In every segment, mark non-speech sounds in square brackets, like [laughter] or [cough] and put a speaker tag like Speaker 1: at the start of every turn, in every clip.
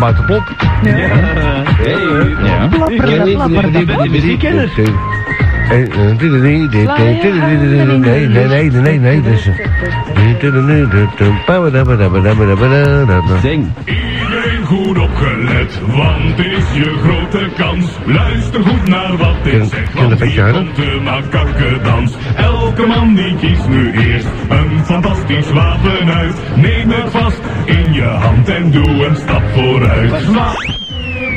Speaker 1: buiten plop.
Speaker 2: Ja.
Speaker 1: Oh, Nee, nee, nee, nee, nee, dus.
Speaker 2: Zing.
Speaker 3: Iedereen goed opgelet, want is je grote kans. Luister goed naar wat ik
Speaker 1: Kun-
Speaker 3: zeg,
Speaker 1: kun je
Speaker 3: want
Speaker 1: een beetje
Speaker 3: hier
Speaker 1: harder?
Speaker 3: komt de makakkendans. Elke man die kiest nu eerst een fantastisch wapen uit. Neem het vast in je hand en doe een stap vooruit. Sla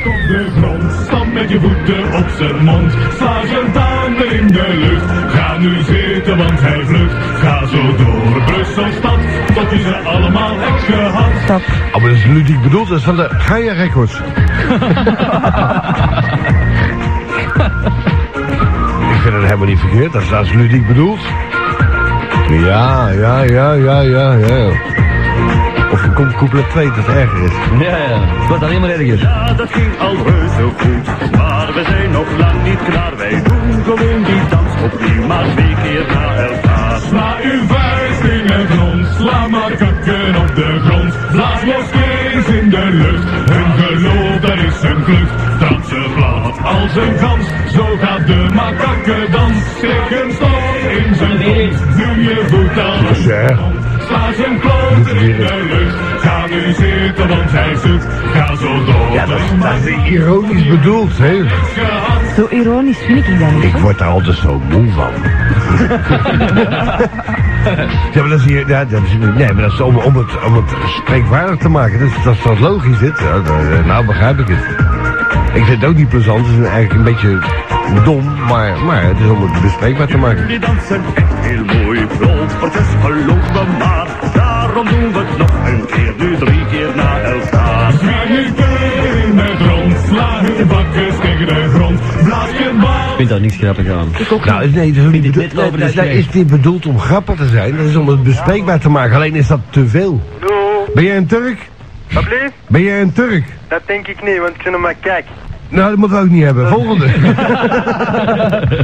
Speaker 3: op de grond, stamp met je voeten op zijn mond. Sla zijn tanden in de lucht. Ga nu zitten, want hij vlucht. Ga zo door Brusselstad, tot je ze allemaal hebt gehad.
Speaker 1: Oh, maar dat is ludiek bedoeld, dat is van de Gaia Records. Ik vind het helemaal niet verkeerd, dat is, dat is ludiek bedoeld. Ja, ja, ja, ja, ja, ja. Of er komt couplet 2 dat erger is.
Speaker 2: Ja, ja. Wat alleen maar ergens.
Speaker 4: Ja, dat ging al reuze goed. Maar we zijn nog lang niet klaar. Wij doen gewoon die dans opnieuw, maar twee keer na elkaar.
Speaker 3: Sla uw vuist in het rond, sla maar kakken op de grond. Blaas moskees in de lucht, hun geloof dat is een klucht. Dat ze plat als een gans, zo gaat de makakkendans. Steek een stok in zijn kont, nu je voet aan een
Speaker 1: Zeg.
Speaker 3: grond. Sla zijn kloten in de lucht, ga nu zitten want hij zoekt. Ga zo door, ja,
Speaker 1: Ironisch bedoeld, hè?
Speaker 5: Zo ironisch vind ik dat niet.
Speaker 1: Ik word daar altijd zo moe van. [laughs] ja, maar dat is hier, ja, dat is, nee, maar dat is om, om, het, om het spreekwaardig te maken. Dat is, dat is wat logisch, dit. Ja, dat- nou begrijp ik het. Ik vind het ook niet plezant. Het is eigenlijk een beetje dom, maar, maar het is om het bespreekbaar te maken.
Speaker 4: Die dansen echt heel mooi, vlot proces geloof me maar. Daarom doen we het nog een keer, nu drie keer na elkaar.
Speaker 3: Ga je keer in het rond, sla hun bakken tegen de grond. Blaas je bal
Speaker 2: Ik vind daar niks grappig aan.
Speaker 1: Nou, nee, dat is, niet
Speaker 2: dit
Speaker 1: bedoeld,
Speaker 2: net over de
Speaker 1: nee, dat
Speaker 2: streep.
Speaker 1: is niet bedoeld om grappig te zijn. Dat is om het bespreekbaar te maken. Alleen is dat te veel.
Speaker 6: Doe,
Speaker 1: Ben jij een Turk?
Speaker 6: wat bleef?
Speaker 1: Ben jij een Turk?
Speaker 6: Dat denk ik niet, want ik ben maar kijk.
Speaker 1: Nou, dat moeten we ook niet hebben. Volgende.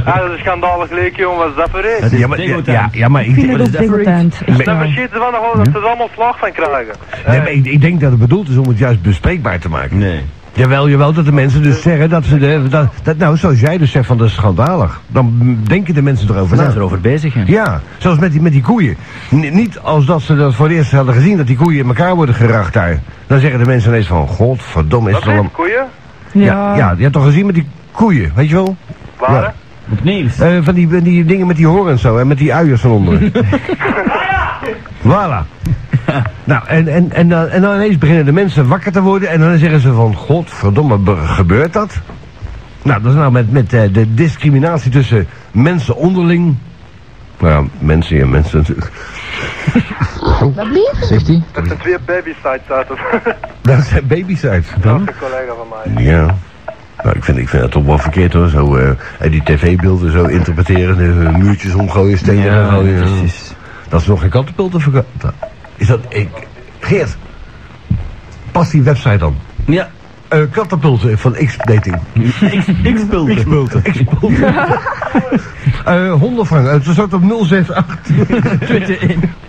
Speaker 6: Ah, dat is schandalig leuk, jongen, wat is dat voor reet?
Speaker 1: Ja, maar, ja,
Speaker 2: Degotijn.
Speaker 1: ja, ja, maar ik,
Speaker 5: Ik vind
Speaker 1: denk-
Speaker 5: het ook degoutant.
Speaker 1: Nee.
Speaker 5: Echt
Speaker 6: Daar
Speaker 5: waar.
Speaker 6: verschieten ze van nog wel dat ze er allemaal vlag van krijgen.
Speaker 1: Nee, maar ik, ik denk dat het bedoeld is om het juist bespreekbaar te maken.
Speaker 2: Nee.
Speaker 1: Jawel, jawel, dat de mensen dus zeggen dat ze... De, dat, dat, nou, zoals jij dus zegt van dat is schandalig. Dan mm, denken de mensen erover
Speaker 2: We zijn
Speaker 1: na.
Speaker 2: erover bezig, hè.
Speaker 1: Ja, zoals met die, met die koeien. N- niet als dat ze dat voor het eerst hadden gezien, dat die koeien in elkaar worden geracht daar. Dan zeggen de mensen ineens van, godverdomme, is
Speaker 6: Wat
Speaker 1: het al
Speaker 6: bleef?
Speaker 1: een...
Speaker 6: Koeien?
Speaker 1: Ja, ja, je hebt toch gezien met die koeien, weet je wel?
Speaker 6: Waren?
Speaker 2: Opnieuw.
Speaker 1: Eh, van die, van die dingen met die horens zo en met die uiers van onderen. voilà. Nou, en, en, en, dan, en dan ineens beginnen de mensen wakker te worden en dan zeggen ze van, godverdomme, be- gebeurt dat? Nou, dat is nou met, met eh, de discriminatie tussen mensen onderling. Nou ja, mensen en mensen natuurlijk.
Speaker 2: Zegt hij?
Speaker 6: Dat zijn twee babysites uit het
Speaker 1: Dat zijn baby's uit.
Speaker 6: [laughs] een collega van mij.
Speaker 1: Ja. Nou, ik vind, ik vind dat toch wel verkeerd hoor, zo eh, en die tv-beelden zo interpreteren, de muurtjes omgooien, stenen gooien.
Speaker 2: precies.
Speaker 1: Dat is nog geen kantenpul te verkopen. Is dat... Ik, Geert, pas die website dan.
Speaker 2: Ja.
Speaker 1: Eh katapulten van X-dating.
Speaker 2: X-pulten.
Speaker 1: X-pulten. X-pulten. [laughs] Eh, hondenvang. Eh, Het staat op 078.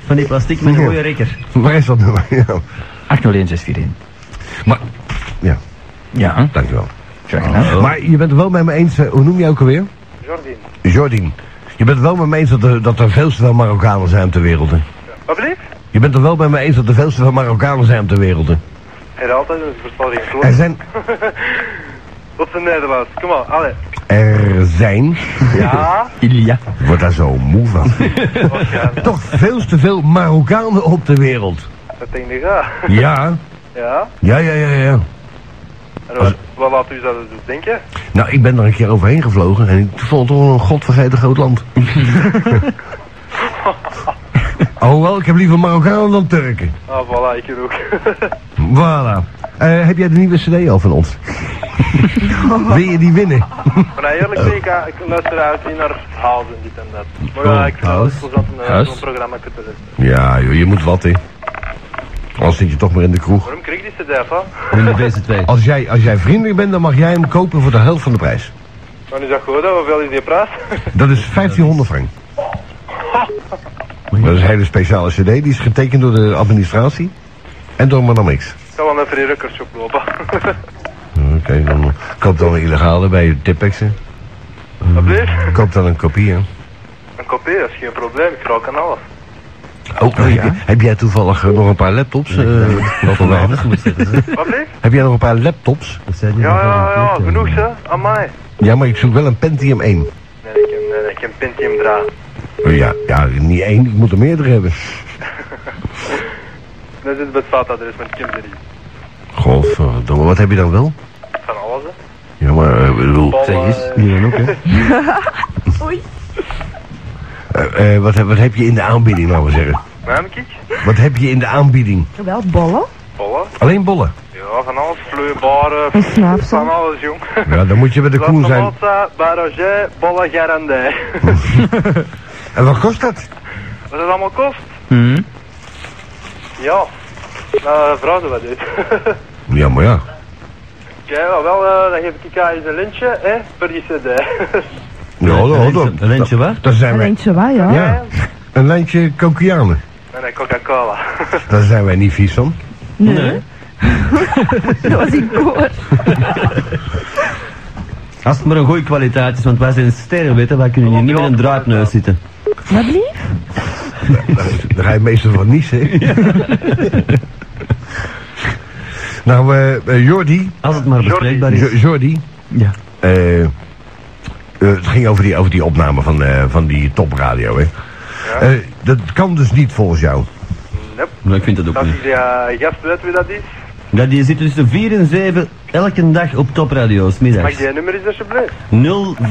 Speaker 2: Van die plastic met een mooie rekker.
Speaker 1: Waar is dat nummer? Ja.
Speaker 2: 801641.
Speaker 1: Maar, ja,
Speaker 2: Ja.
Speaker 1: dankjewel.
Speaker 2: Graag gedaan.
Speaker 1: Maar je bent het wel met me eens, eh, hoe noem je ook alweer?
Speaker 6: Jordien.
Speaker 1: Jordien. Je bent het wel met me eens dat er, dat er veel te veel Marokkanen zijn ter wereld. hè?
Speaker 6: Wat bleef?
Speaker 1: Je bent het wel met me eens dat er veel te veel Marokkanen zijn ter wereld. hè?
Speaker 6: Er altijd dus een verstoring.
Speaker 1: Er zijn...
Speaker 6: Op zijn Nederlands, kom maar, allee.
Speaker 1: Er zijn...
Speaker 6: Ja,
Speaker 2: Ilja.
Speaker 1: Ik word daar zo moe van.
Speaker 6: waarschijnlijk.
Speaker 1: Toch veel te veel Marokkanen op de wereld.
Speaker 6: Dat denk ik, ja.
Speaker 1: Ja,
Speaker 6: Ja,
Speaker 1: ja, ja, ja, ja.
Speaker 6: en wat, wat laat u dat dus denken?
Speaker 1: Nou, ik ben er een keer overheen gevlogen en ik vond het toch een godvergeten groot land. Alhoewel, Oh, ik heb liever Marokkanen dan Turken.
Speaker 6: Ah, voilà, ik ook. [laughs]
Speaker 1: Voilà. Eh, heb jij de nieuwe cd al van ons? Wil je die winnen?
Speaker 6: maar nou, eerlijk gezegd, ik, eh, ik luister uit niet naar House en dit en dat. Maar ja, ik vind het wel
Speaker 2: House.
Speaker 6: plezant om eh,
Speaker 2: House.
Speaker 6: zo'n programma te luisteren.
Speaker 1: Ja, joh, je moet wat, hè. Anders zit je toch maar in de kroeg.
Speaker 6: Waarom krijg ik die cd van?
Speaker 2: In de beste twee.
Speaker 1: Als jij, als jij vriendelijk bent, dan mag jij hem kopen voor de helft van de prijs.
Speaker 6: Maar is dat goed, hè? hoeveel is die prijs?
Speaker 1: Dat is 1500 frank. [laughs] Dat is een hele speciale cd, die is getekend door de administratie en door Madame X.
Speaker 6: ga wel naar Free Ruckers oplopen.
Speaker 1: Oké, dan koop dan een illegale bij je tipexen.
Speaker 6: Wat bleef?
Speaker 1: Koop dan een kopie, hè.
Speaker 6: Een kopie, dat is geen probleem, ik raak aan alles.
Speaker 1: Oh, heb, je- heb jij toevallig eh, nog een paar laptops? eh, wat voor weinig?
Speaker 6: Wat bleef?
Speaker 1: Heb jij nog een paar laptops?
Speaker 6: Ja, ja, ja, genoeg ze, amai.
Speaker 1: Ja, maar ik zoek wel een Pentium 1.
Speaker 6: Nee, ik heb, nee, ik heb Pentium dragen.
Speaker 1: Oh, ja, ja, niet één, ik moet er meerdere hebben.
Speaker 6: Dat zit bij het vaatadres met Kim Drie.
Speaker 1: Godverdomme, wat heb je dan wel?
Speaker 6: Van alles, hè.
Speaker 1: Ja, maar eh, ik bedoel...
Speaker 6: Ballen,
Speaker 2: Zeg eens.
Speaker 6: eh,
Speaker 1: dan ook, hè?
Speaker 6: [laughs]
Speaker 5: Oei.
Speaker 1: Eh, eh, wat, heb- wat heb je in de aanbieding, laten we zeggen?
Speaker 6: Mijmkiek,
Speaker 1: Wat heb je in de aanbieding?
Speaker 5: Wel bollen.
Speaker 6: ballen.
Speaker 1: Alleen bollen.
Speaker 6: Ja, van alles, vloeibare,
Speaker 5: Een snaapsel.
Speaker 6: van alles, jong.
Speaker 1: Ja, dan moet je bij de koen zijn.
Speaker 6: Lassamassa, Barrage, Bolle Garandij.
Speaker 1: En wat kost dat?
Speaker 6: Wat dat allemaal kost?
Speaker 2: Hm?
Speaker 6: Ja. Nou, vrouw ze wat uit. [laughs]
Speaker 1: Ja, maar ja.
Speaker 6: Oké, maar wel, eh, dan geef ik elkaar eens een lintje, hè, per die cd.
Speaker 1: Ja,
Speaker 6: [laughs]
Speaker 1: dat- dat-
Speaker 2: Een lijntje- een lijntje wat?
Speaker 1: Daar zijn
Speaker 5: Een
Speaker 1: wij.
Speaker 5: eentje waar, ja.
Speaker 1: Ja, [laughs] een lijntje kokianen.
Speaker 6: en een Coca-Cola. [laughs]
Speaker 1: Daar zijn wij niet vies van.
Speaker 5: Nee. [laughs] Dat was ik koor.
Speaker 2: Als het maar een goede kwaliteit is, want wij zijn sterren, weten wij kunnen hier niet met een draadneus zitten.
Speaker 5: Wat lief?
Speaker 1: Daar ga je meestal van niezen. [laughs] hè? nou, eh, eh, Jordi.
Speaker 2: Als het maar bespreekbaar is.
Speaker 1: Jo- Jordi.
Speaker 2: Ja.
Speaker 1: eh, eh, het ging over die, over die opname van, eh, van die topradio, hè? Eh, dat kan dus niet volgens jou.
Speaker 6: Nope.
Speaker 2: Maar ik vind dat ook
Speaker 6: Dat
Speaker 2: niet.
Speaker 6: is die eh, gast, weet wie dat is?
Speaker 2: Ja, die zit tussen 4 en 7 elke dag op topradio's,
Speaker 6: Mag
Speaker 2: middags.
Speaker 6: die nummer eens alsjeblieft?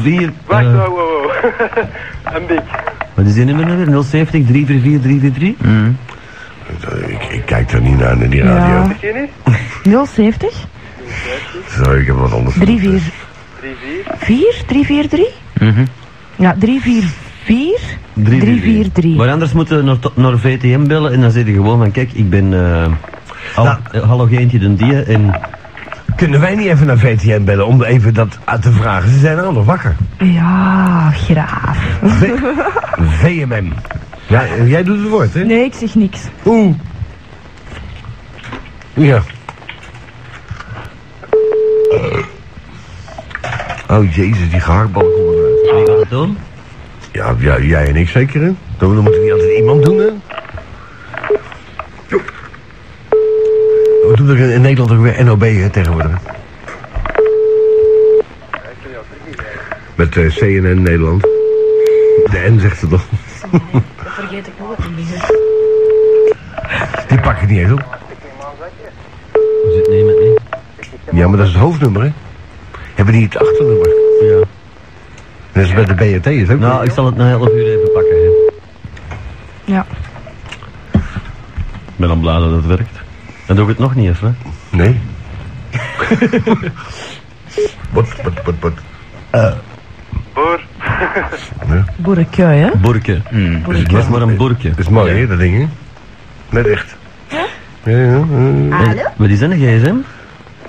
Speaker 2: 04...
Speaker 6: Wacht,
Speaker 2: eh,
Speaker 6: wow, wow, wow. [laughs] een beetje.
Speaker 2: wat is die nummer nou weer? 070 344 343?
Speaker 1: Eh, Ik, ik kijk er niet naar, naar die radio.
Speaker 5: Ja.
Speaker 6: Is die niet?
Speaker 5: 070
Speaker 1: Zo, ik heb wat anders.
Speaker 5: 344
Speaker 6: 3, 4.
Speaker 5: 343? Ja, 344 343.
Speaker 2: Maar anders moeten we naar, to- naar VTM bellen en dan zeggen gewoon van kijk, ik ben eh al,
Speaker 1: Nou.
Speaker 2: eh, hallogeentje den die en
Speaker 1: Kunnen wij niet even naar VTM bellen om even dat aan te vragen? Ze zijn allemaal nog wakker.
Speaker 5: Ja, graaf.
Speaker 1: V- VMM. Ja, eh, jij doet het woord, hè?
Speaker 5: Nee, ik zeg niks.
Speaker 1: Oeh. Ja. Oh jezus, die gehaktbal komt eruit.
Speaker 2: wie gaat het doen?
Speaker 1: Ja, ja, jij en ik zeker, hè? Dan, dan moet er niet altijd iemand doen, hè? Oh, We doen er in, in Nederland ook weer NOB hè, tegenwoordig. Met eh, CNN Nederland. De N zegt het nog.
Speaker 5: Dat vergeet ik nooit meer.
Speaker 1: Die pak ik niet eens op.
Speaker 2: Is het nee met nee?
Speaker 1: Ja, maar dat is het hoofdnummer, hè? Hebben die het achternummer?
Speaker 2: Ja.
Speaker 1: Dat is bij de BRT, is ook.
Speaker 2: Nou, ik zal het na een half uur even pakken. Hè.
Speaker 5: Ja.
Speaker 2: Ik ben dan blij dat het werkt. Dan doe ik het nog niet even. hè.
Speaker 1: Nee. wat, wat, wat, wat.
Speaker 6: Boer.
Speaker 5: Boerenkui, hè?
Speaker 2: Borken. Het was maar een borken.
Speaker 1: Dat is mooi, hè, dat ding, hè? Net echt. Ja? ja, eh,
Speaker 5: Hallo?
Speaker 2: Wat is dat, een gsm?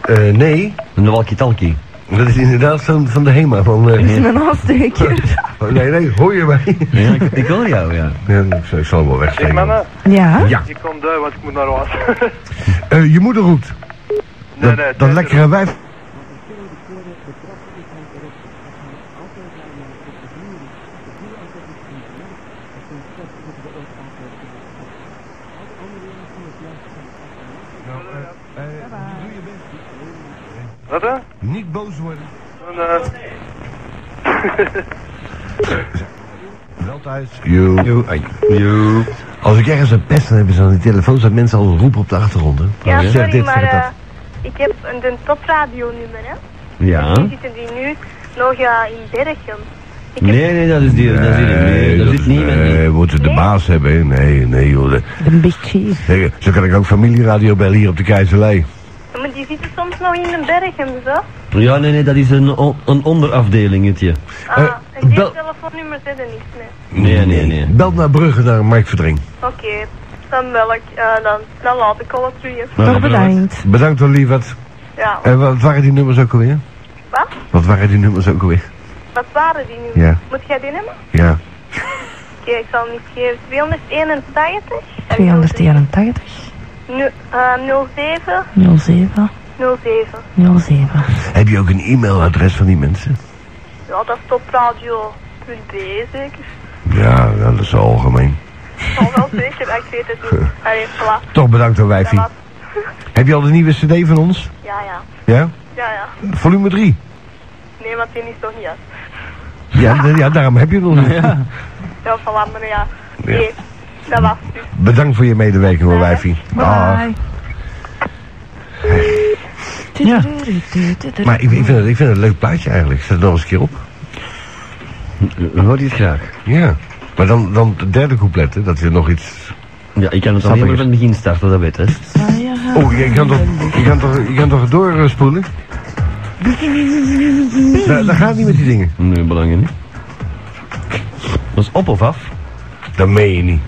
Speaker 1: eh, nee,
Speaker 2: Een walkie-talkie.
Speaker 1: dat is inderdaad van, van de HEMA. Van, eh,
Speaker 5: Een aansteker.
Speaker 1: oh, nee, nee, hoor je mij?
Speaker 2: Ja, ik, ik hoor jou, ja.
Speaker 1: ja, ik zal- ik zal hem wel
Speaker 6: Zeg,
Speaker 1: wegsteken.
Speaker 6: mannen,
Speaker 5: Ja?
Speaker 1: Ja.
Speaker 6: ik kom daar, want ik moet naar huis. [laughs]
Speaker 1: Eh, je moederhoed.
Speaker 6: nee,
Speaker 1: Dat,
Speaker 6: nee,
Speaker 1: dat
Speaker 6: thuis-
Speaker 1: lekkere wijf.
Speaker 6: Wat, hè?
Speaker 1: Niet boos worden.
Speaker 6: En, eh,
Speaker 1: Wel thuis. Yo. Als ik ergens een pest, dan hebben ze aan die telefoon, zijn mensen al roepen op de achtergrond. Hè?
Speaker 7: Ja,
Speaker 1: Zeg
Speaker 7: sorry,
Speaker 1: dit,
Speaker 7: maar
Speaker 1: zeg dat.
Speaker 7: eh, ik heb een, een topradionummer, hè.
Speaker 2: Ja.
Speaker 7: Die zitten die nu nog eh, in Bergen. Ik heb
Speaker 2: Nee, nee, dat is die. dat is die nee, dat zit
Speaker 1: Eh, is-
Speaker 2: niet met
Speaker 1: nee,
Speaker 2: die.
Speaker 1: we moeten de baas hebben. hè. Nee, nee, joh. de-
Speaker 5: Een beetje.
Speaker 1: Zeg, zo kan ik ook familieradio bellen hier op de Keizerlei.
Speaker 7: Maar die zitten soms nog in de Bergen, zo.
Speaker 2: Ja, nee, nee, dat is een, on- een onderafdelingetje.
Speaker 7: Ah,
Speaker 1: Eh,
Speaker 7: en die
Speaker 1: wel-
Speaker 7: telefoonnummer zit er niks mee.
Speaker 2: Nee, nee, nee.
Speaker 1: Bel naar Brugge, naar Mark Verdring.
Speaker 7: Oké, dan wel ik, eh, dan, dan laat ik al het terug. hè.
Speaker 5: Toch bedankt.
Speaker 1: Bedankt wel, lieverd.
Speaker 7: Ja,
Speaker 1: En wat waren die nummers ook alweer?
Speaker 7: Wat?
Speaker 1: Wat waren die nummers ook alweer?
Speaker 7: wat waren die nummers?
Speaker 1: Ja.
Speaker 7: Moet jij die hebben?
Speaker 1: Ja.
Speaker 7: Oké, ik zal niet geven. 281? En dan-
Speaker 5: 281.
Speaker 7: Nu, eh 07
Speaker 5: 07
Speaker 7: 07.
Speaker 5: 07.
Speaker 1: Heb je ook een e-mailadres van die mensen?
Speaker 7: Ja, dat is topradio.be zeker.
Speaker 1: Ja, ja, dat is wel algemeen.
Speaker 7: Zal
Speaker 1: [laughs]
Speaker 7: wel zeker, maar ik weet het niet. Allee, voilà.
Speaker 1: Toch bedankt aan
Speaker 7: Dat
Speaker 1: wijfie.
Speaker 7: was-
Speaker 1: Heb je al de nieuwe cd van ons?
Speaker 7: Ja, ja.
Speaker 1: Ja?
Speaker 7: Ja, ja.
Speaker 1: Volume 3.
Speaker 7: Nee, maar die is nog niet uit.
Speaker 1: Ja, d- ja daarom heb je het nog niet.
Speaker 7: [laughs] Ja, voilà, maar ja. Nee, dat was het dus.
Speaker 1: Bedankt voor je medewerking hoor, wijfie. Ah,
Speaker 5: Bye.
Speaker 2: Ja.
Speaker 1: maar ik, ik, vind het, ik vind het een leuk plaatje eigenlijk. Zet het nog eens een keer op.
Speaker 2: Hoor je het graag?
Speaker 1: Ja. Maar dan, dan het derde couplet, hè, dat je nog iets...
Speaker 2: Ja, ik kan het
Speaker 1: Snap
Speaker 2: alleen
Speaker 1: ik.
Speaker 2: maar van het begin starten, dat weet je. hè.
Speaker 1: Oh, je kan toch, je kan toch, je kan toch doorspoelen? Dat, dat gaat niet met die dingen.
Speaker 2: Nee, belangrijk niet. Dat is op of af?
Speaker 1: Dat meen je niet.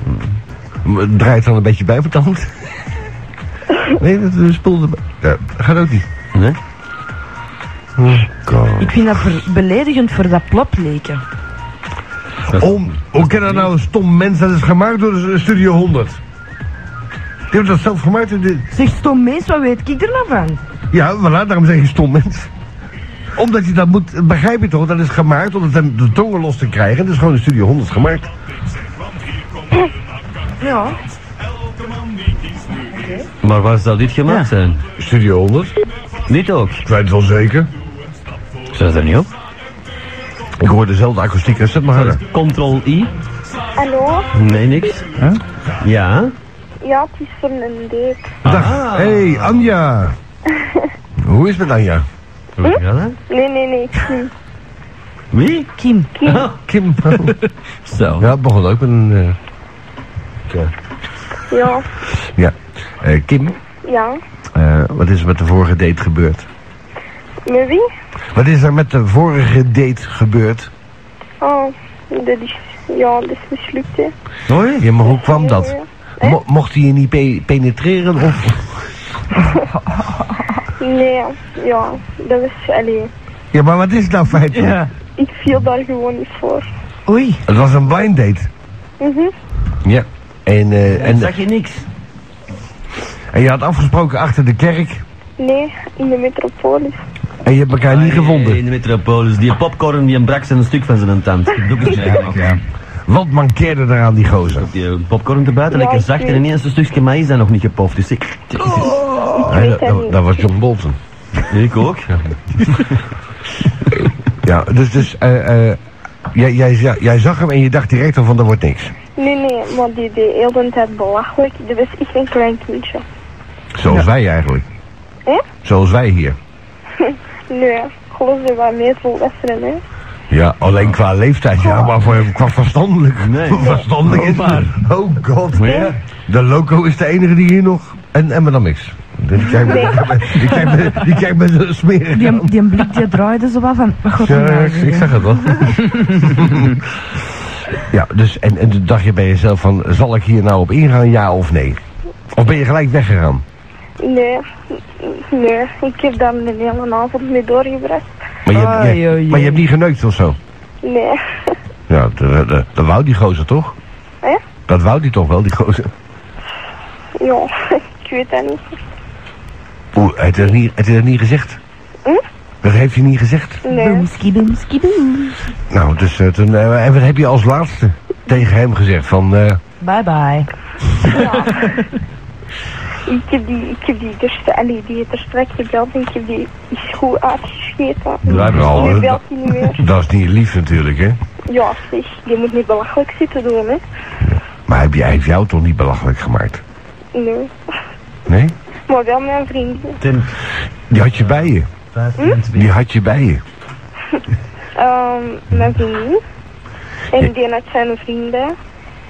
Speaker 1: Maar het Draait dan een beetje bij op het hand? Nee, dat eh, spoelt erbij. Ja, dat gaat ook niet.
Speaker 2: Nee?
Speaker 1: Oh, God.
Speaker 5: Ik vind dat ver- beledigend voor dat plopleken.
Speaker 1: Om, hoe kan dat nou een stom mens? Dat is gemaakt door de Studio 100. Die hebben dat zelf gemaakt. De,
Speaker 5: Zeg stom mens, wat weet ik er nou van?
Speaker 1: ja, voilà, daarom zeg je stom mens. Omdat je dat moet, begrijp je toch, dat is gemaakt om het hem de tongen los te krijgen. Dat is gewoon de Studio 100 gemaakt.
Speaker 5: Ja.
Speaker 3: Elke man die kiest nu eerst.
Speaker 2: Maar waar zou dit gemaakt zijn?
Speaker 1: Studio 100?
Speaker 2: Dit ook.
Speaker 1: Ik weet het wel zeker.
Speaker 2: Staat er niet op?
Speaker 1: Ik hoor dezelfde akoestiek, dus hè. zet maar harder.
Speaker 2: Ctrl-I?
Speaker 8: Hallo?
Speaker 2: Nee, niks. Ja.
Speaker 8: Ja, het is voor een date.
Speaker 1: Dag,
Speaker 2: Ah.
Speaker 1: hey, Anja. Hoe is het met Anja?
Speaker 2: Hoe is dat?
Speaker 8: Nee, nee, nee, Kim.
Speaker 2: Wie?
Speaker 5: Kim.
Speaker 1: Kim.
Speaker 2: Oh, Zo.
Speaker 1: ja, het begon ook met een... eh, ja.
Speaker 8: Ja,
Speaker 1: ja. Eh, Kim,
Speaker 8: ja.
Speaker 1: eh, wat is er met de vorige date gebeurd?
Speaker 8: Met wie?
Speaker 1: Wat is er met de vorige date gebeurd?
Speaker 8: Oh, dat is, ja, dat is mislukt, hè.
Speaker 1: Hoi? Ja, maar hoe kwam
Speaker 8: Ja,
Speaker 1: dat?
Speaker 8: ja.
Speaker 1: Mo- mocht hij je niet pe- penetreren of...
Speaker 8: Nee, ja, dat was, allee,
Speaker 1: Ja, maar wat is het nou feitelijk?
Speaker 8: ik viel daar gewoon niet voor.
Speaker 5: Oei.
Speaker 1: Het was een blind date.
Speaker 8: Mhm.
Speaker 1: Ja. En, eh,
Speaker 2: En
Speaker 1: en,
Speaker 2: zag je niks?
Speaker 1: en je had afgesproken achter de kerk
Speaker 8: Nee, in de metropolis.
Speaker 1: en je hebt elkaar niet gevonden.
Speaker 2: Ah, In de metropolis. Die popcorn die hem brak zijn een stuk van zijn tand. Ik [laughs] doe het eigenlijk, ja.
Speaker 1: Wat mankeerde er aan die gozer?
Speaker 2: Die eh, popcorn te buiten,
Speaker 8: Ja,
Speaker 2: lekker
Speaker 8: ik
Speaker 2: zacht en
Speaker 8: weet.
Speaker 2: ineens een stukje maïs dat nog niet gepoft is. Ik,
Speaker 1: Nee,
Speaker 8: weet
Speaker 1: dat,
Speaker 8: het
Speaker 1: dat-
Speaker 8: niet.
Speaker 1: dat was John Bolton.
Speaker 2: ik ook.
Speaker 1: Ja, dus, dus eh, eh, jij, jij, za- jij zag hem en je dacht direct al van, dat wordt niks.
Speaker 8: Nee, nee, maar die deed heel de tijd belachelijk. Dat was echt een klein kindje.
Speaker 1: Zoals wij eigenlijk.
Speaker 8: Hè?
Speaker 1: Zoals wij hier.
Speaker 8: Nee, geloof je wat meer volwassenen, hè.
Speaker 1: Ja, alleen qua leeftijd, ja, maar voor, qua verstandelijk.
Speaker 2: Nee. [laughs]
Speaker 1: verstandelijk [laughs] is
Speaker 2: Oh, maar.
Speaker 1: Oh god.
Speaker 2: Ja.
Speaker 1: De loco is de enige die hier nog. En, en dan niks. Die kijkt Dus me, [laughs] die kijkt me, die kijkt me zo smerig aan.
Speaker 5: Die, die blik die draaide zo wat van, wat gaat er
Speaker 1: Ja,
Speaker 5: nou
Speaker 1: ik, ik
Speaker 5: gebeuren?
Speaker 1: zag het wel. ja, dus en, en toen dacht je bij jezelf van, zal ik hier nou op ingaan, ja of nee? Of ben je gelijk weggegaan?
Speaker 8: Nee, nee, ik heb daar een hele avond mee doorgebracht.
Speaker 1: Maar je, hebt- je-
Speaker 5: Oei, oei,
Speaker 1: maar je hebt
Speaker 5: oei.
Speaker 1: niet geneukt of zo?
Speaker 8: Nee,
Speaker 1: Ja, d- d- d- dat wou die gozer toch?
Speaker 8: Hè?
Speaker 1: Dat wou die toch wel, die gozer?
Speaker 8: ja, [laughs] ik weet dat niet.
Speaker 1: Oeh, het is niet, het is niet gezegd.
Speaker 8: Hm?
Speaker 1: Dat heeft hij niet gezegd.
Speaker 8: Nee,
Speaker 5: Boem, skiboem, skiboem.
Speaker 1: Nou, dus eh, toen, eh, en wat heb je als laatste tegen hem gezegd? Van,
Speaker 8: Hm.
Speaker 1: eh,
Speaker 5: Bye bye.
Speaker 8: ik heb die, ik heb die, dus, allee, die heeft er straks gebeld en ik heb die is goed uitgescheten.
Speaker 1: Blijf er al, hè?
Speaker 8: Nu belt hij niet meer.
Speaker 1: dat is niet lief natuurlijk, hè?
Speaker 8: Ja, zeg, je moet niet belachelijk zitten doen, hè.
Speaker 1: Maar heb jij, heeft jou toch niet belachelijk gemaakt?
Speaker 8: Nee,
Speaker 1: Nee?
Speaker 8: maar wel mijn vriendin.
Speaker 2: Ten
Speaker 1: Die had je bij je.
Speaker 8: Hm?
Speaker 1: Die had je bij je.
Speaker 8: Ehm, mijn vriendin. En die had zijn vrienden.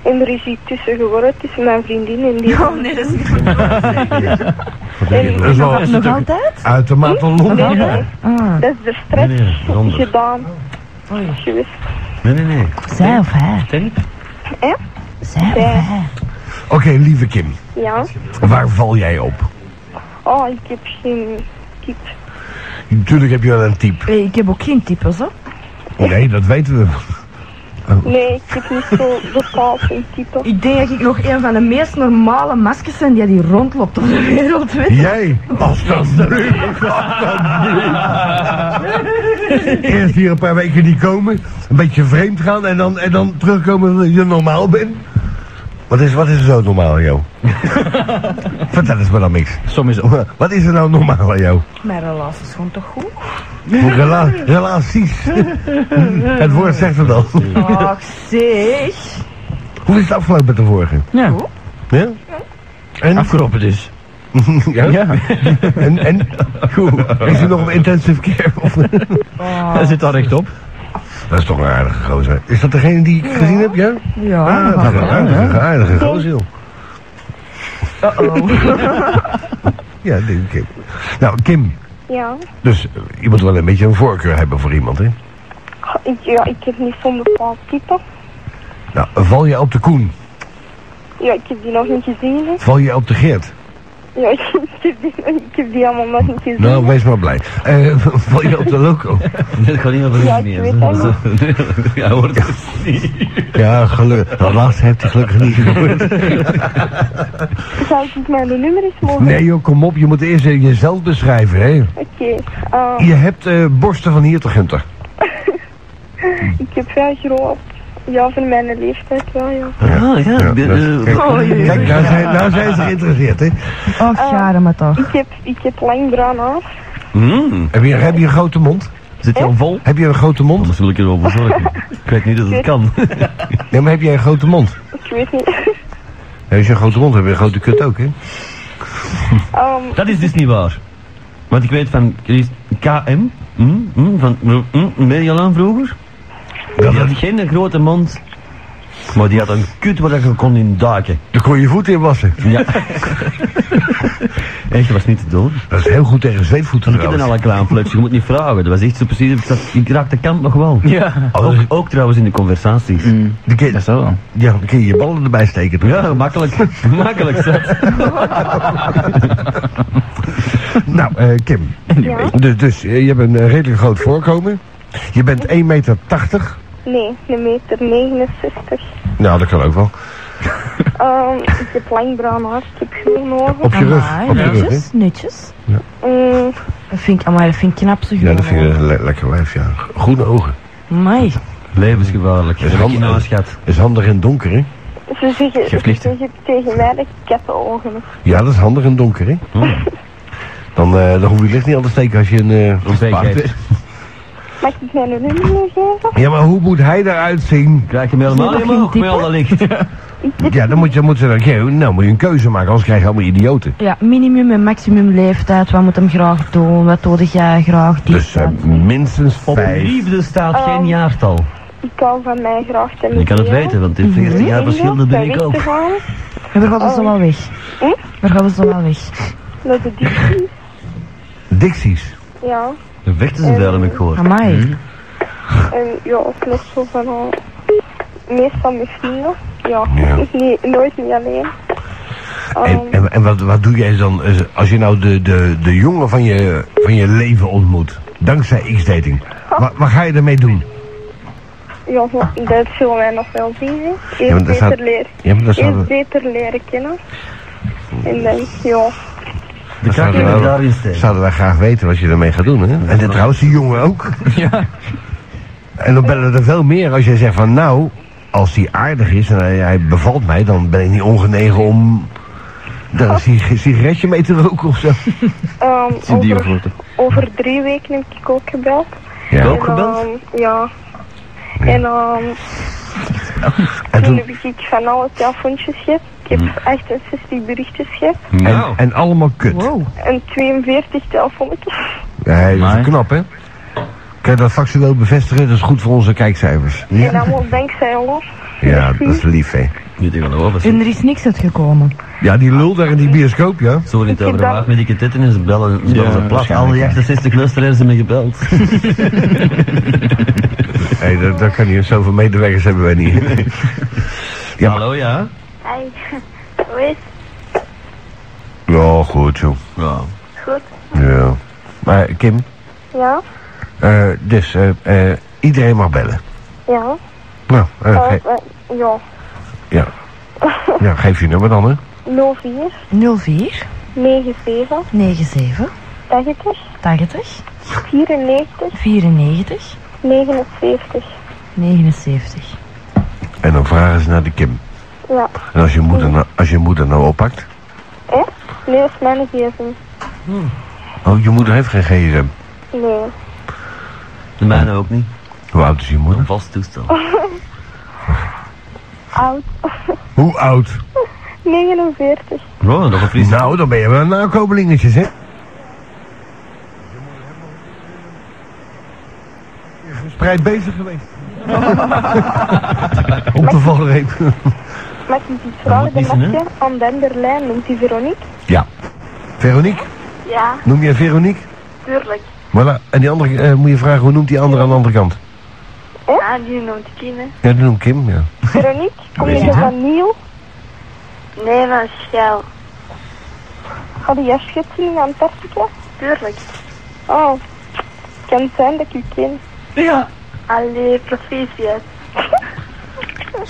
Speaker 8: En er is iets tussen geworden tussen mijn vriendin en die.
Speaker 5: Oh nee, dat is
Speaker 1: Dat is wel
Speaker 5: nog altijd?
Speaker 1: uitermate
Speaker 8: Nee,
Speaker 1: lomp.
Speaker 8: nee,
Speaker 5: Ah,
Speaker 8: dat is er straks
Speaker 2: Nee, nee, eronder.
Speaker 8: gedaan
Speaker 5: oei.
Speaker 8: geweest.
Speaker 2: Nee, nee, nee.
Speaker 5: Zij of hij?
Speaker 2: Ten?
Speaker 5: Zij of
Speaker 8: Zij.
Speaker 5: hij?
Speaker 1: Oké, lieve Kim,
Speaker 8: Ja.
Speaker 1: waar val jij op?
Speaker 8: Oh, ik heb geen kip.
Speaker 1: Natuurlijk heb je wel een type.
Speaker 5: Hey, ik heb ook geen types, hoor.
Speaker 1: Nee, dat weten we.
Speaker 8: Nee, ik zit niet zo bepaald een titel.
Speaker 5: Ik denk dat ik nog een van de meest normale maskers ben die, die rondloopt op de [laughs] wereld. Weet. je.
Speaker 1: Jij? Alsjeblieft, alsjeblieft. Eerst hier een paar weken niet komen, een beetje vreemd gaan en dan, en dan terugkomen dat je normaal bent. Wat is, wat is er zo normaal aan jou? [laughs] Vertel eens maar dan niks.
Speaker 2: Soms is [laughs]
Speaker 1: Wat is er nou normaal aan jou?
Speaker 5: Mijn relatie is gewoon toch goed?
Speaker 1: Rela relaties. het woord zegt het al.
Speaker 5: Ach zeg.
Speaker 1: Hoe is het afgelopen met de vorige?
Speaker 2: Ja.
Speaker 1: Ja? En?
Speaker 2: Afgelopen dus.
Speaker 1: Ja?
Speaker 2: Ja,
Speaker 1: En? en?
Speaker 2: goed.
Speaker 1: Is hij nog op intensive care? Of?
Speaker 2: Hij zit daar [laughs] recht op.
Speaker 1: Dat is toch een aardige gozer. Is dat degene die ik gezien heb, ja?
Speaker 5: Ja.
Speaker 1: Ah, dat is een aardige, aardige gozer. joh.
Speaker 5: Uh-oh.
Speaker 1: [laughs] Ja, dat denk ik. Nou, Kim.
Speaker 8: Ja.
Speaker 1: Dus eh, je moet wel een beetje een voorkeur hebben voor iemand, hè?
Speaker 8: Ik, ja, ik heb niet zo'n bepaald titel.
Speaker 1: Nou, val je op de Koen?
Speaker 8: Ja, ik heb die nog niet gezien. hè.
Speaker 1: Val je op de Geert?
Speaker 8: Ja, [laughs] ik heb die, ik heb die allemaal nog niet gezien.
Speaker 1: Nou, wees maar blij. Eh, [laughs] val je op de Loco?
Speaker 2: Dat gaat niet over
Speaker 8: Ja,
Speaker 2: ja,
Speaker 8: ik
Speaker 2: meer.
Speaker 8: weet het
Speaker 2: Dat [laughs] is- Ja, hoort het.
Speaker 1: Ja, gelukkig. Dat laatste heeft hij gelukkig niet gehoord.
Speaker 8: Zou ik mijn nummer eens
Speaker 1: [laughs]
Speaker 8: mogen?
Speaker 1: Nee joh, kom op. Je moet eerst eh, jezelf beschrijven, hè?
Speaker 8: Oké. eh,
Speaker 1: Je hebt eh, borsten van hier tot Gunter.
Speaker 8: ik heb vrij groot. Ja, voor mijn leeftijd wel, ja.
Speaker 2: Ah, ja. ik ben,
Speaker 1: dat is-
Speaker 2: eh,
Speaker 1: kijk,
Speaker 5: Oh, jee.
Speaker 1: Kijk, nou zijn, nou zijn ze geïnteresseerd, hè?
Speaker 5: Ach, jaren maar toch.
Speaker 8: Ik heb, ik heb lang bruin haar.
Speaker 2: mm,
Speaker 1: Heb je, heb je een grote mond?
Speaker 2: Zit je al vol?
Speaker 1: Heb je een grote mond?
Speaker 2: Anders wil ik er wel voor zorgen. Ik weet niet dat het kan.
Speaker 1: Nee, maar heb jij een grote mond?
Speaker 8: Ik weet niet. [laughs]
Speaker 1: Ja, als je een grote mond hebt, heb je een grote kut ook, hè?
Speaker 8: Ehm,
Speaker 2: Dat is dus niet waar. Want ik weet van er is KM, mm, mm, van mm, Merjalaan vroeger. Die had geen grote mond, maar die had een kut waar je kon in duiken.
Speaker 1: Dan kon je je voeten in wassen.
Speaker 2: Ja. Echt, dat was niet te doen.
Speaker 1: Dat is heel goed tegen zweetvoeten
Speaker 2: Ik heb dan
Speaker 1: trouwens.
Speaker 2: al een klein flutje, je moet niet vragen. Dat was echt zo precies, ik, zat, ik raakte kant nog wel.
Speaker 9: Ja.
Speaker 1: Oh,
Speaker 2: Ook, ook trouwens in de conversaties.
Speaker 1: dan kun
Speaker 9: Dat
Speaker 1: je-
Speaker 9: is wel.
Speaker 1: Ja, dan kun je je ballen erbij steken. toch?
Speaker 2: Ja, makkelijk. makkelijk zat.
Speaker 1: Nou, eh, Kim.
Speaker 8: ja.
Speaker 1: Dus, dus eh, je hebt een eh, redelijk groot voorkomen. Je bent 1,80 meter.
Speaker 8: Nee, een meter 69.
Speaker 1: Nou, dat kan ook wel.
Speaker 8: Ehm, ik heb lang bruin haar. Ik heb groen ogen.
Speaker 1: Op je rug.
Speaker 5: Amai,
Speaker 1: Op je rug, hè?
Speaker 5: netjes, netjes.
Speaker 8: Mm,
Speaker 5: Dat vind ik, amai, dat vind ik knap zo
Speaker 1: Ja, dat vind ik een le- lekker wijf, ja. Groene ogen.
Speaker 5: Amai.
Speaker 2: Levensgevaarlijk.
Speaker 1: Dat is
Speaker 2: Heb ik
Speaker 1: handig.
Speaker 2: nou een schat.
Speaker 1: Is handig in het donker, hè?
Speaker 8: ze zeggen,
Speaker 9: Geef
Speaker 8: ze
Speaker 9: licht, hè.
Speaker 8: zeggen tegen mij dat ik kattenogen heb.
Speaker 1: Ja, dat is handig in het donker, hè?
Speaker 2: Hmm.
Speaker 1: Dan, eh, dan hoef je licht niet aan te steken als je een... eh,
Speaker 2: Een
Speaker 1: paard
Speaker 2: zekerheid.
Speaker 1: bent.
Speaker 8: Mag ik mijn nummer nog geven?
Speaker 1: Ja, maar hoe moet hij eruit zien?
Speaker 2: Krijg je hem helemaal
Speaker 5: Is
Speaker 2: niet
Speaker 5: die nog
Speaker 2: omhoog
Speaker 5: geen
Speaker 2: met al dat licht.
Speaker 1: Ja, dan moet je, moet ze dan, ja, nou, moet je een keuze maken, anders krijg je allemaal idioten.
Speaker 5: Ja, minimum en maximum leeftijd. Wat moet hem graag doen? Wat doe jij graag? Dit,
Speaker 1: Dus eh,
Speaker 5: dat.
Speaker 1: minstens
Speaker 2: Op
Speaker 1: vijf.
Speaker 2: liefde staat geen
Speaker 8: Oh.
Speaker 2: jaartal.
Speaker 8: Ik hou van mij graag te
Speaker 2: Je kan het weten, want in 40 jaar verschil, dat ben ik ook.
Speaker 5: En waar gaan we zo wel weg? Waar gaan we zo wel weg?
Speaker 8: Dat de diepte,
Speaker 1: Dixies.
Speaker 8: ja.
Speaker 2: Dan vechten ze daar, heb ik gehoord.
Speaker 1: Hm?
Speaker 5: Amai.
Speaker 8: En ja, ook nog zo van al. Meestal met vrienden. Ja.
Speaker 1: Ja.
Speaker 8: Nee, nooit niet alleen.
Speaker 1: En,
Speaker 8: Ehm,
Speaker 1: en, en wat, wat doe jij dan eh, als je nou de, de, de jongen van je, van je leven ontmoet? Dankzij X-dating. Wat, wat ga je ermee doen?
Speaker 8: ja, maar dat zullen wij nog wel zien. hè. Eerst
Speaker 1: Ja, maar dat
Speaker 8: beter
Speaker 1: staat-
Speaker 8: leren.
Speaker 1: Ja, maar dat
Speaker 8: Eerst
Speaker 1: staat,
Speaker 8: beter leren kennen. En dan, ja.
Speaker 2: De
Speaker 1: dat zouden
Speaker 2: kracht
Speaker 1: we-
Speaker 2: die daarin steekt.
Speaker 1: Eh. zouden wij graag weten wat je ermee gaat doen, hè? En de, trouwens, die jongen [laughs] ook.
Speaker 9: Ja.
Speaker 1: En dan bellen er veel meer als jij zegt van, nou, als die aardig is en hij, hij bevalt mij, dan ben ik niet ongenegen om daar een sig- sigaretje mee te roken of zo.
Speaker 8: ehm,
Speaker 9: Een
Speaker 8: over,
Speaker 9: diergrote.
Speaker 8: over drie weken heb ik ook gebeld.
Speaker 1: Ja.
Speaker 2: Ook
Speaker 8: En,
Speaker 2: gebeld?
Speaker 8: ehm, ja. En ehm,
Speaker 1: En
Speaker 8: toen
Speaker 1: toen,
Speaker 8: heb ik van alle telefoontjes gehad. Ik heb 68 berichtjes gehad.
Speaker 2: Nou.
Speaker 1: en, en allemaal kut.
Speaker 5: Wow.
Speaker 8: En 42 telefoontjes.
Speaker 1: Nee, dat is
Speaker 9: Amai.
Speaker 1: knap, hè? Kan je dat factueel bevestigen? Dat is goed voor onze kijkcijfers.
Speaker 8: En allemaal dankzij ons.
Speaker 1: Ja, dat is lief, hè?
Speaker 2: Niet tegen de
Speaker 5: En er is niks uitgekomen.
Speaker 1: Ja, die lul daar in die bioscoop, ja?
Speaker 2: Zo niet
Speaker 8: Ik
Speaker 2: over de
Speaker 8: dacht-
Speaker 2: waard met die ketetten en ze bellen, ze bellen ze plat.
Speaker 9: waarschijnlijk,
Speaker 2: Al die
Speaker 9: ja.
Speaker 2: 68 luisteraars hebben me gebeld.
Speaker 1: Hé, dat, dat kan niet. Zoveel medewerkers hebben wij niet. [laughs] Ja, maar-
Speaker 2: Hallo, ja?
Speaker 7: Hey, hoe is
Speaker 1: Ja, oh, goed, joh.
Speaker 2: Ja.
Speaker 7: Goed.
Speaker 1: Ja. Maar Kim,
Speaker 8: Ja,
Speaker 1: eh, dus eh, eh, iedereen mag bellen.
Speaker 8: ja.
Speaker 1: Nou, eh,
Speaker 8: Eh,
Speaker 1: ge-
Speaker 8: eh, ja,
Speaker 1: ja. ja, geef je nummer dan, hè?
Speaker 8: 04
Speaker 5: 04
Speaker 8: 97
Speaker 5: 97
Speaker 8: 80
Speaker 5: 80
Speaker 8: 94
Speaker 5: 94
Speaker 8: 79.
Speaker 5: 79.
Speaker 1: En dan vragen ze naar de Kim.
Speaker 8: Ja,
Speaker 1: En als je moeder nou, als je moeder nou oppakt...
Speaker 8: hè? Nee, dat is mijn gsm.
Speaker 1: Oh, je moeder heeft geen gsm.
Speaker 8: Nee.
Speaker 2: De mijne ook niet.
Speaker 1: Hoe oud is je moeder?
Speaker 2: Een vast toestel.
Speaker 8: Oud.
Speaker 1: Hoe oud?
Speaker 8: 49.
Speaker 2: Wow, nog een Fries.
Speaker 1: Nou, dan ben je wel een nakopelingetje, hè? Spreid bezig geweest. [laughs] Op de valreep.
Speaker 8: Maar die ziet
Speaker 2: Dat
Speaker 8: vooral
Speaker 2: moet
Speaker 8: de
Speaker 2: niet zijn,
Speaker 8: matje aan de andere lijn, noemt die Veronique.
Speaker 1: Ja. Veronique,
Speaker 7: Ja,
Speaker 1: noem jij Veronique?
Speaker 7: tuurlijk.
Speaker 1: Voilà. En die andere, eh, moet je vragen, hoe noemt die andere aan de andere kant?
Speaker 7: Ja, die noemt Kim, hè.
Speaker 1: Ja, die noemt Kim, ja.
Speaker 8: Veronique, kom
Speaker 1: Weet
Speaker 8: je
Speaker 1: je
Speaker 8: van Niel?
Speaker 7: Nee, van Schel.
Speaker 8: Had je juist gezien in Antarctica?
Speaker 7: Tuurlijk.
Speaker 8: Oh, het kan zijn dat ik u ken.
Speaker 7: Allee, proficiat.